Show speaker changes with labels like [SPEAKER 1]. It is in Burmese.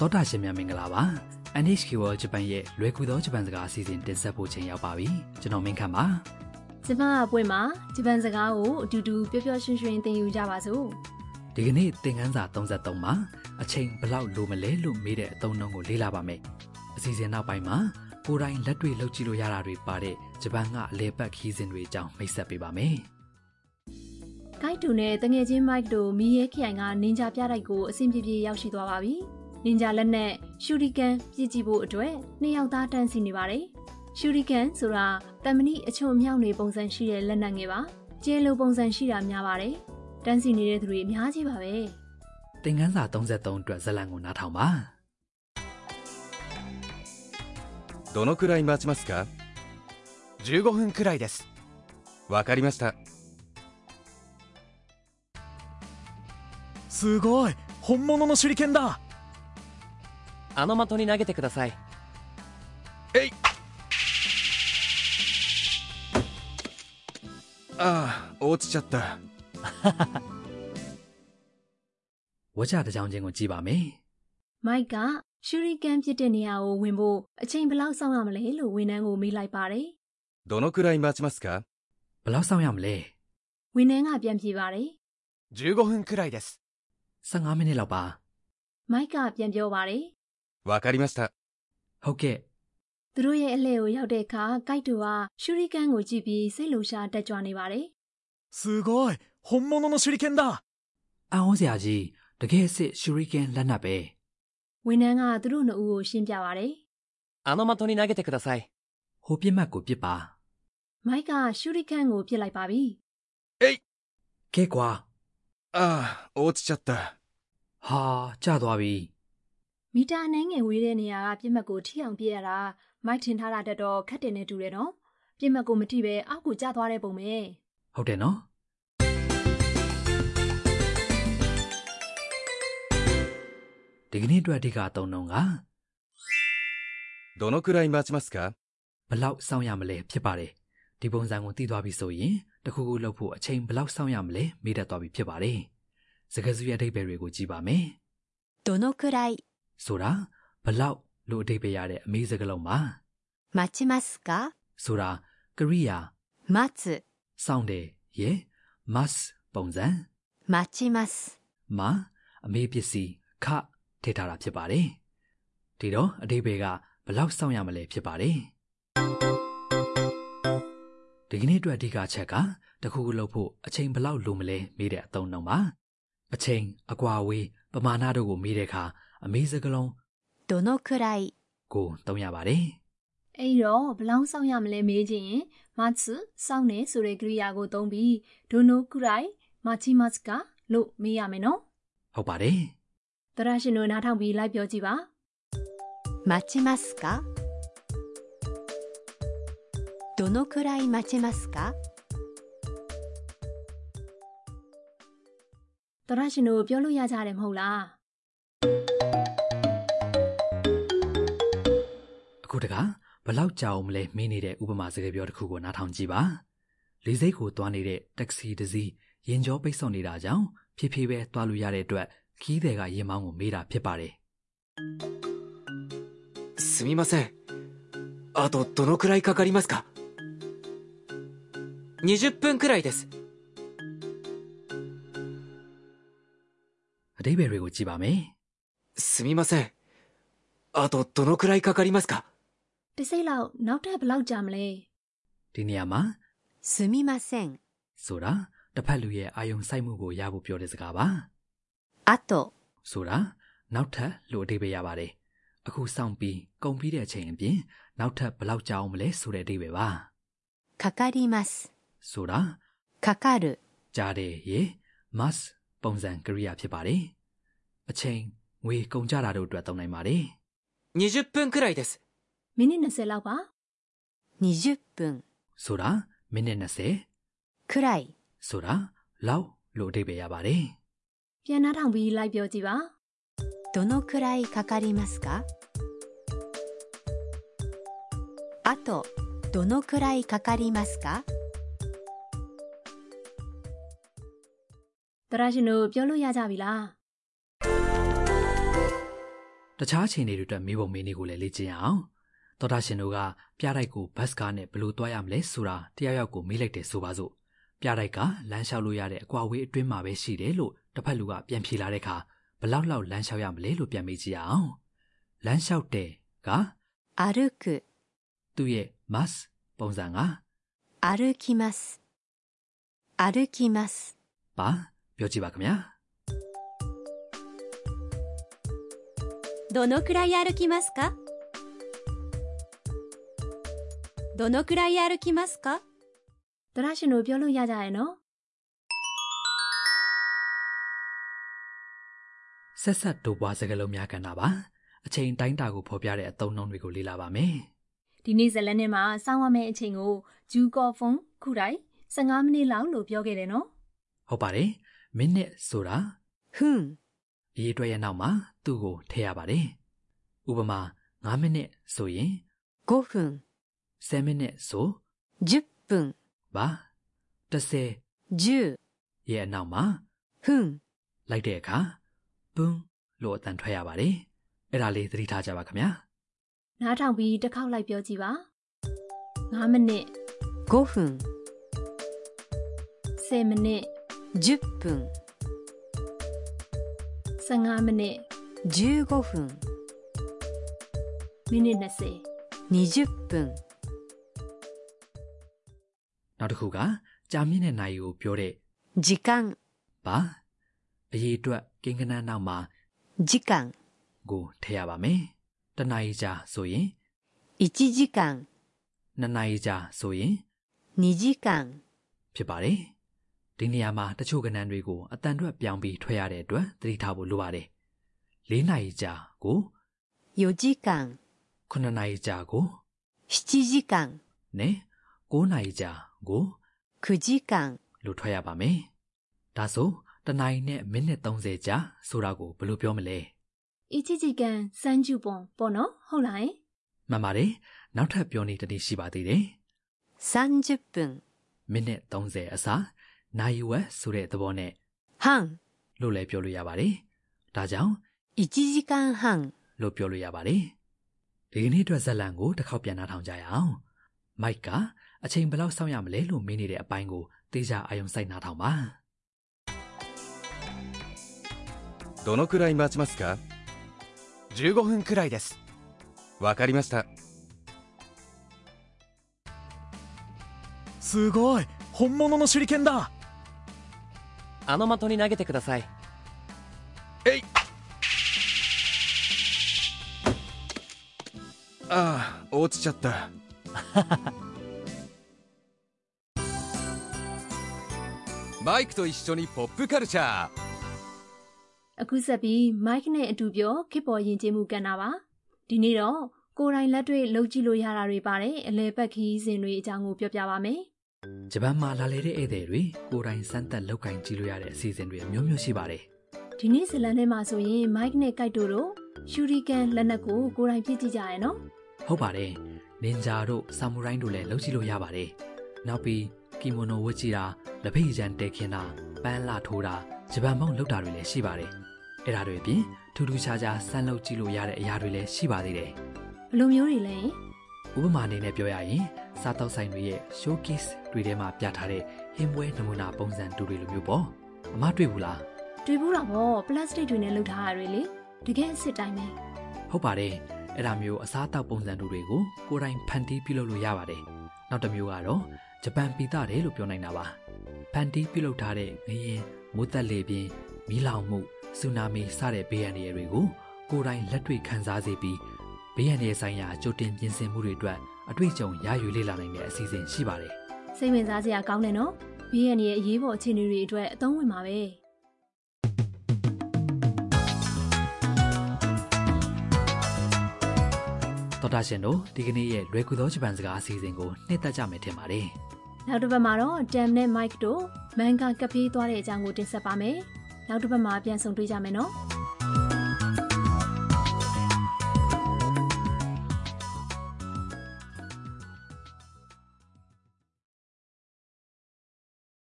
[SPEAKER 1] သောတာရှင်များမင်္ဂလာပါ NHK World Japan ရဲ့လွယ်ကူသောဂျပန်စကားအစီအစဉ်တင်ဆက်ဖို့ချိန်ရောက်ပါပြီကျွန်တော်မင်းခမ်းပါ
[SPEAKER 2] ကျမအပွင့်မှာဂျပန်စကားကိုအတူတူပျော်ပျော်ရွှင်ရွှင်သင်ယူကြပါစို့
[SPEAKER 1] ဒီကနေ့သင်ခန်းစာ33မှာအချိန်ဘယ်လောက်လိုမလဲလို့မေးတဲ့အသုံးအနှုန်းကိုလေ့လာပါမယ်အစီအစဉ်နောက်ပိုင်းမှာကိုယ်တိုင်လက်တွေ့လုပ်ကြည့်လို့ရတာတွေပါတဲ့ဂျပန်ကအလဲပတ်ခီးစဉ်တွေအကြောင်းမိတ်ဆက်ပေးပါမယ်
[SPEAKER 2] ။ဂိုက်တူနဲ့တငယ်ချင်းမိုက်တို့မီးရဲခရိုင်ကနင်ဂျာပြတိုက်ကိုအဆင်ပြေပြေရောက်ရှိသွားပါပြီ။နင်ဂျာလက်နဲ့ရှူရီကန်ပြည့်ကြည့်ဖို့အတွက်နှစ်ယောက်သားတန်းစီနေပါတယ်။ရှူရီကန်ဆိုတာတမဏိအချုံအမြောက်တွေပုံစံရှိတဲ့လက်နက်ငယ်ပါ။ကျဲလိုပုံစံရှိတာများပါတယ်။တန်းစီနေတဲ့သူတွေအများကြီးပါပဲ။
[SPEAKER 1] သင်ခန်းစာ33အတွက်ဇာတ်လမ်းကိုနားထောင်ပါ
[SPEAKER 3] どのくらい待ちますか
[SPEAKER 4] 15分くらいです
[SPEAKER 3] わかりました
[SPEAKER 4] すごい本物の手裏剣だ
[SPEAKER 5] あの的に投げてください
[SPEAKER 3] ああ落ちちゃった
[SPEAKER 1] ဝါကြတစ်ကြောင်ချင်းကိုကြည့်ပါမယ်
[SPEAKER 2] မိုက်ကရှူရီကန်ပစ်တဲ့နေရာကိုဝင်ဖို့အချိန်ဘယ်လောက်စောင့်ရမလဲလို့ဝန်ထမ်းကိုမေးလိုက်ပါတယ်
[SPEAKER 3] どのくらい待ちますか
[SPEAKER 1] ဘယ်လောက်စောင့်ရမလဲ
[SPEAKER 2] ။ဝန်ထမ်းကပြန်ပြေပါတယ်
[SPEAKER 4] 15分くらいです
[SPEAKER 1] 15မိနစ်လောက်ပါ
[SPEAKER 2] ။မိုက်ကပြန်ပြောပါတယ်
[SPEAKER 3] わかりました
[SPEAKER 1] ဟုတ်ကဲ့
[SPEAKER 2] ။သူတို့ရဲ့အလှည့်ကိုရောက်တဲ့အခါဂိုက်တူကရှူရီကန်ကိုကြည့်ပြီးစိတ်လှုပ်ရှားတက်ကြွနေပါတယ်
[SPEAKER 4] すごい本物の手裏剣だ
[SPEAKER 1] အံ့ဩစရာကြီးတကယ်စစ်ရှူရီကန်လက်နက်ပဲ
[SPEAKER 2] ။ဝန်ထမ်းကသူတို့နှစ်ဦးကိုရှင်းပြပါတယ်
[SPEAKER 5] あの的に投げてください
[SPEAKER 1] ဟိုပြစ်မှတ်ကိုပြစ်ပါ
[SPEAKER 2] ။မိုက်ကရှူရီကန်ကိုပြစ်လိုက်ပါပြီ
[SPEAKER 1] ကဲကွာ
[SPEAKER 3] ああ落ちちゃった
[SPEAKER 1] ဟာကျသွားပြီ
[SPEAKER 2] ။မီတာအနှဲငယ်ဝေးတဲ့နေရာကပြစ်မှတ်ကိုထိအောင်ပြစ်ရတာမိုက်ထင်ထားတာတက်တော့ခက်တယ်နဲ့တူတယ်နော်။ပြစ်မှတ်ကိုမထိပဲအောက်ကိုကျသွားတဲ့ပုံပဲ။
[SPEAKER 1] ဟုတ်တယ်နော်ဒီကနေ့အတွက်အဓိကအသုံးနှုန်းက
[SPEAKER 3] どのくらい待ちますか
[SPEAKER 1] ဘယ်လောက်စောင့်ရမလဲဖြစ်ပါတယ်ဒီပုံစံကိုသိသွားပြီဆိုရင်တစ်ခုခုလုပ်ဖို့အချိန်ဘယ်လောက်စောင့်ရမလဲမေးတတ်သွားပြီဖြစ်ပါတယ်စကားစုရဲ့အဓိပ္ပာယ်တွေကိုကြည့်ပါမယ်
[SPEAKER 6] どのくらい
[SPEAKER 1] ဆိုတာဘယ်လောက်လို့အဓိပ္ပာယ်ရတဲ့အမေးစကားလုံးပါ
[SPEAKER 6] 待ちますか
[SPEAKER 1] ဆိုတာကရိယာ
[SPEAKER 6] 待つ、
[SPEAKER 1] စောင့်တယ်ရေ must ပုံစံ
[SPEAKER 6] 待ちます。
[SPEAKER 1] မှာအမေးပစ္စည်းခထည့်ထားတာဖြစ်ပါတယ်။ဒီတော့အတိဘေကဘယ်လောက်စောင့်ရမလဲဖြစ်ပါတယ်။ဒီကနေ့အတွက်အဓိကအချက်ကတစ်ခုခုလုပ်ဖို့အချိန်ဘယ်လောက်လိုမလဲမေးတဲ့အသုံးအနှုန်းပါ။အချိန်အကွာအဝေးပမာဏတို့ကိုမေးတဲ့အခါအမေးစကားလုံး
[SPEAKER 6] どのくらい
[SPEAKER 1] ကိုသုံးရပါတယ်
[SPEAKER 2] အဲ့တော့ဘလောင်းဆောင်ရမလဲမေးခြင်းရင်မတ်စုစောင်းနေဆိုတဲ့ကရိယာကိုသုံးပြီးဒိုနိုကုရိုင်မာချီမတ်စကာလို့မေးရမယ်နော်
[SPEAKER 1] ။ဟုတ်ပါတယ်
[SPEAKER 2] သရရှင်တို့နားထောင်ပြီးလိုက်ပြောကြည့်ပါ
[SPEAKER 6] 待ちますかどのくらい待ちますか
[SPEAKER 2] သရရှင်တို့ပြောလို့ရကြတယ်မဟုတ်လား
[SPEAKER 1] ။အခုတကဘယ်လောက်ကြာအောင်မလဲမေးနေတဲ့ဥပမာစကားပြောတစ်ခုကိုနားထောင်ကြည့်ပါ။လေဆိပ်ကိုသွားနေတဲ့တက္ကစီတစ်စီးရင်ကျော်ပိတ်ဆော့နေတာကြောင့်ဖြည်းဖြည်းပဲသွားလို့ရတဲ့အတွက်ခီးတွေကရင်မောင်းကိုမေးတာဖြစ်ပါတယ်။
[SPEAKER 7] すみませんあとどのくらいかかりますか20分くらいです
[SPEAKER 1] အတိပ္ပယ်တွေကိုကြည့်ပါမယ်
[SPEAKER 7] すみませんあとどのくらいかかりますか
[SPEAKER 2] တစ်စိတ်လောက်နောက်ထပ်ဘလောက်ကြာမလဲ
[SPEAKER 1] ။ဒီနေရာမှာ
[SPEAKER 6] すみません。
[SPEAKER 1] ဆိုတာတစ်ဖက်လူရဲ့အာယုံစိုက်မှုကိုရဖို့ပြောတဲ့စကားပါ
[SPEAKER 6] あと、
[SPEAKER 1] ။ဆိုတာနောက်ထပ်လို့အတိပ္ပယ်ရပါတယ်။အခုစောင့်ပြီးကုန်ပြီးတဲ့အချိန်အပြင်နောက်ထပ်ဘယ်လောက်ကြာအောင်မလဲဆိုတဲ့အတိပ္ပယ်ပါ
[SPEAKER 6] かかります。
[SPEAKER 1] ။ဆိုတာ
[SPEAKER 6] かかる、
[SPEAKER 1] ကြားတယ်ရေ must ပုံစံကရိယာဖြစ်ပါတယ်။အချိန်ငွေကုန်ကြတာတို့အတွက်သုံးနိုင်ပါတယ်
[SPEAKER 7] 20分くらいです
[SPEAKER 2] မိနစ်20လောက်ပါ
[SPEAKER 6] 20分、
[SPEAKER 1] ။ဆိုတာမိနစ်20
[SPEAKER 6] くらい、
[SPEAKER 1] ဆိုတာလောက်လို့အတိပ္ပယ်ရပါတယ်။
[SPEAKER 2] ပြန်နားထောင်ပြီးလိုက်ပြောကြည့်ပါ
[SPEAKER 6] どのくらいかかりますかあと、どのくらいかかりますか
[SPEAKER 2] သရရှင်တို့ပြောလို့ရကြပြီလား
[SPEAKER 1] တခြားချိန်တွေအတွက်မေးပုံမေးနည်းကိုလည်းလေ့ကျင့်ရအောင်သောတာရှင်တို့ကပြတိုက်ကိုဘတ်စ်ကားနဲ့ဘယ်လိုသွားရမလဲဆိုတာတရားရောက်ကိုမေးလိုက်တယ်ဆိုပါစို့ပြတိုက်ကလမ်းလျှောက်လို့ရတဲ့အကွာအဝေးအတွင်းမှာပဲရှိတယ်လို့တစ်ဖက်လူကပြန်ဖြေလာတဲ့အခါဘယ်လောက်လောက်လမ်းလျှောက်ရမလဲလို့ပြန်မေးကြည့်ရအောင်လမ်းလျှောက်တယ်က
[SPEAKER 6] 歩く、
[SPEAKER 1] သူ့ရဲ့ mass ပုံစံက
[SPEAKER 6] 歩きます。歩きます。
[SPEAKER 1] ပါပြောကြည့်ပါခင်ဗျာ
[SPEAKER 6] どのくらい歩きますかどのくらい歩きますか
[SPEAKER 2] တရရှင်တို့ပြောလို့ရကြရဲ့နော်
[SPEAKER 1] ဆက်ဆက်တို့ပွားစကားလုံးများကဏ္ဍပါအချိန်တိုင်းတာကိုဖော်ပြတဲ့အသုံးအနှုန်းတွေကိုလေ့လာပါမယ်
[SPEAKER 2] ဒီနေ့ဇတ်လန်းနဲ့မှာစောင်းရမယ့်အချိန်ကိုဂျူကော်ဖုန်ခုတိုင်း15မိနစ်လောက်လို့ပြောခဲ့တယ်နော်
[SPEAKER 1] ဟုတ်ပါတယ်မိနစ်ဆိုတာ
[SPEAKER 6] ふん、
[SPEAKER 1] အရေးအတွက်ရဲ့နောက်မှာသူ့ကိုထည့်ရပါတယ်ဥပမာ9မိနစ်ဆိုရင်
[SPEAKER 6] 5分、
[SPEAKER 1] 10မိနစ်ဆို
[SPEAKER 6] 10分、
[SPEAKER 1] ပါ30
[SPEAKER 6] 10
[SPEAKER 1] ရဲ့အနောက်မှာ
[SPEAKER 6] 分、
[SPEAKER 1] လိုက်တဲ့အခါဘွန်းလို့အတန်ထွက်ရပါတယ်အဲ့ဒါလေးသတိထားကြပါခင်ဗျာ
[SPEAKER 2] နားထောင်ပြီးတစ်ခေါက်လိုက်ပြောကြည့်ပါ9မိနစ်
[SPEAKER 6] 5分、
[SPEAKER 2] 10မိနစ်
[SPEAKER 6] 10分、
[SPEAKER 2] 15မိနစ်
[SPEAKER 6] 15分、
[SPEAKER 2] မိနစ်20
[SPEAKER 6] 20分、
[SPEAKER 1] နောက်တစ်ခုကကြာမြင့်တဲ့နိုင်ကိုပြောတဲ့
[SPEAKER 6] 時間、
[SPEAKER 1] ပါအရေးအတွက်ကိန်းဂဏန်းနောက်မှာ
[SPEAKER 6] 時間、
[SPEAKER 1] ကိုထည့်ရပါမယ်။တစ်နာရီကြာဆိုရင်
[SPEAKER 6] 1時間、
[SPEAKER 1] နှစ်နာရီကြာဆိုရင်
[SPEAKER 6] 2時間、
[SPEAKER 1] ဖြစ်ပါတယ်။ဒီနေရာမှာတချို့ကဏ္ဍတွေကိုအတန်အတွက်ပြောင်းပြီးထွက်ရတဲ့အတွက်သတိထားဖို့လိုပါတယ်။၄နာရီကြာကို
[SPEAKER 6] 4時間、
[SPEAKER 1] 9နာရီကြာကို
[SPEAKER 6] 7時間、
[SPEAKER 1] နဲ့9နာရီကြာကို
[SPEAKER 6] 9時間、
[SPEAKER 1] လို့ထွက်ရပါမယ်။ဒါဆိုတစ်နာရီနဲ့မိနစ်30ကြာဆိုတာကိုဘယ်လိုပြောမလဲ
[SPEAKER 2] အီချီချီကန်စမ်းကျူပွန်ပေါ့နော်ဟုတ်လားယင်
[SPEAKER 1] ။မှန်ပါတယ်။နောက်ထပ်ပြောနေတစ်နည်းရှိပါသေးတယ်။
[SPEAKER 6] 30分、
[SPEAKER 1] မိနစ်30အစားနိုင်ဝက်ဆိုတဲ့သဘောနဲ့
[SPEAKER 6] 半、
[SPEAKER 1] လို့လည်းပြောလို့ရပါတယ်။ဒါကြောင့်
[SPEAKER 6] 1時間半、
[SPEAKER 1] လို့ပြောလို့ရပါတယ်။ဒီကနေ့အတွက်ဇက်လန်ကိုတစ်ခေါက်ပြန်နှာထောင်ကြရအောင်။မိုက်ကအချိန်ဘယ်လောက်စောင့်ရမလဲလို့မေးနေတဲ့အပိုင်းကိုတေချာအာယုံစိုက်နှာထောင်ပါ
[SPEAKER 3] どのくらい待ちますか
[SPEAKER 4] 15分くらいです
[SPEAKER 3] わかりました
[SPEAKER 4] すごい本物の手裏剣だ
[SPEAKER 5] あの的に投げてください
[SPEAKER 3] ああ落ちち ゃったマイクと一緒にポップカルチャー
[SPEAKER 2] အခုဆက်ပြီးမိုက်နဲ့အတူပြောခေတ်ပေါ်ယဉ်ကျေးမှုကဏ္ဍပါဒီနေ့တော့ကိုယ်တိုင်လက်တွေ့လုပ်ကြည့်လို့ရတာတွေပါတဲ့အလဲပတ်ခီးစဉ်တွေအကြောင်းကိုပြောပြပါမယ်
[SPEAKER 1] ။ဂျပန်မှာလာလေတဲ့ဧည့်သည်တွေကိုယ်တိုင်စမ်းသပ်လုပ်ကင်ကြည့်လို့ရတဲ့အစီအစဉ်တွေအမျိုးမျိုးရှိပါတယ်
[SPEAKER 2] ဒီနေ့ဇတ်လန်းထဲမှာဆိုရင်မိုက်နဲ့ကိုက်တိုတို့ရှူရီကန်လက်နက်ကိုကိုယ်တိုင်ပြစ်ကြည့်ကြရနော်
[SPEAKER 1] ။ဟုတ်ပါတယ်။နင်ဂျာတို့ဆာမူရိုင်းတို့လည်းလုပ်ကြည့်လို့ရပါတယ်။နောက်ပြီးကီမိုနိုဝတ်ကြည့်တာလက်ဖက်ရည်ချန်တဲခင်းတာပန်းလာထိုးတာဂျပန်ပုံလုပ်တာတွေလည်းရှိပါတယ်။အဲ့ဒါတွေအပြင်ထူးထူးခြားခြားစမ်းလုပ်ကြည့်လို့ရတဲ့အရာတွေလည်းရှိပါသေးတယ်။
[SPEAKER 2] ဘယ်လိုမျိုးတွေလဲယင်
[SPEAKER 1] ဥပမာအနေနဲ့ပြောရရင်စားတောက်ဆိုင်တွေရဲ့ showcase တွေထဲမှာပြထားတဲ့ဟင်းပွဲနမူနာပုံစံတူတွေလိုမျိုးပေါ့အမတွေ့ဘူးလား
[SPEAKER 2] တွေ့ဘူးတော့ဗောပလတ်စတစ်တွေနဲ့လုပ်ထားတာတွေလေတကယ်အစ်စ်တိုင်းပဲ
[SPEAKER 1] ဟုတ်ပါတယ်အဲ့ဒါမျိုးအစားအသောက်ပုံစံတူတွေကိုကိုယ်တိုင်ဖန်တီးပြုလုပ်လို့ရပါတယ်နောက်တစ်မျိုးကတော့ဂျပန်ပီတာတယ်လို့ပြောနိုင်တာပါဖန်တီးပြုလုပ်ထားတဲ့ငရင်မိုးသက်လေပြင်းမီးလောင်မှုဆူနာမီစတဲ့ဘေးအန္တရာယ်တွေကိုကိုယ်တိုင်လက်တွေ့ခံစားစေပြီးဘေးအန္တရာယ်ဆိုင်ရာကြိုတင်ပြင်ဆင်မှုတွေအတွက်အတွေ့အကြုံရယူလေ့လာနိုင်တဲ့အစီအစဉ်ရှိပါတယ်
[SPEAKER 2] စိတ်ဝင်စားစရာကောင်းတယ်နော်ဘေးရန်ရဲ့အရေးပေါ်အခြေအနေတွေအတွက်အသုံးဝင်ပါပဲ
[SPEAKER 1] တော်တာရှင်တို့ဒီကနေ့ရဲ့လွယ်ကူသောဂျပန်စကားအစီအစဉ်ကိုနှက်တက်ကြမယ်ထင်ပါတယ်
[SPEAKER 2] နောက်တစ်ပတ်မှာတော့ Dam နဲ့ Mike တို့မန်ဂါကဖေးသွားတဲ့အကြောင်းကိုတင်ဆက်ပါမယ်နောက်တစ်ပတ်မှာပြန်ဆုံတွေ့ကြမယ်နော်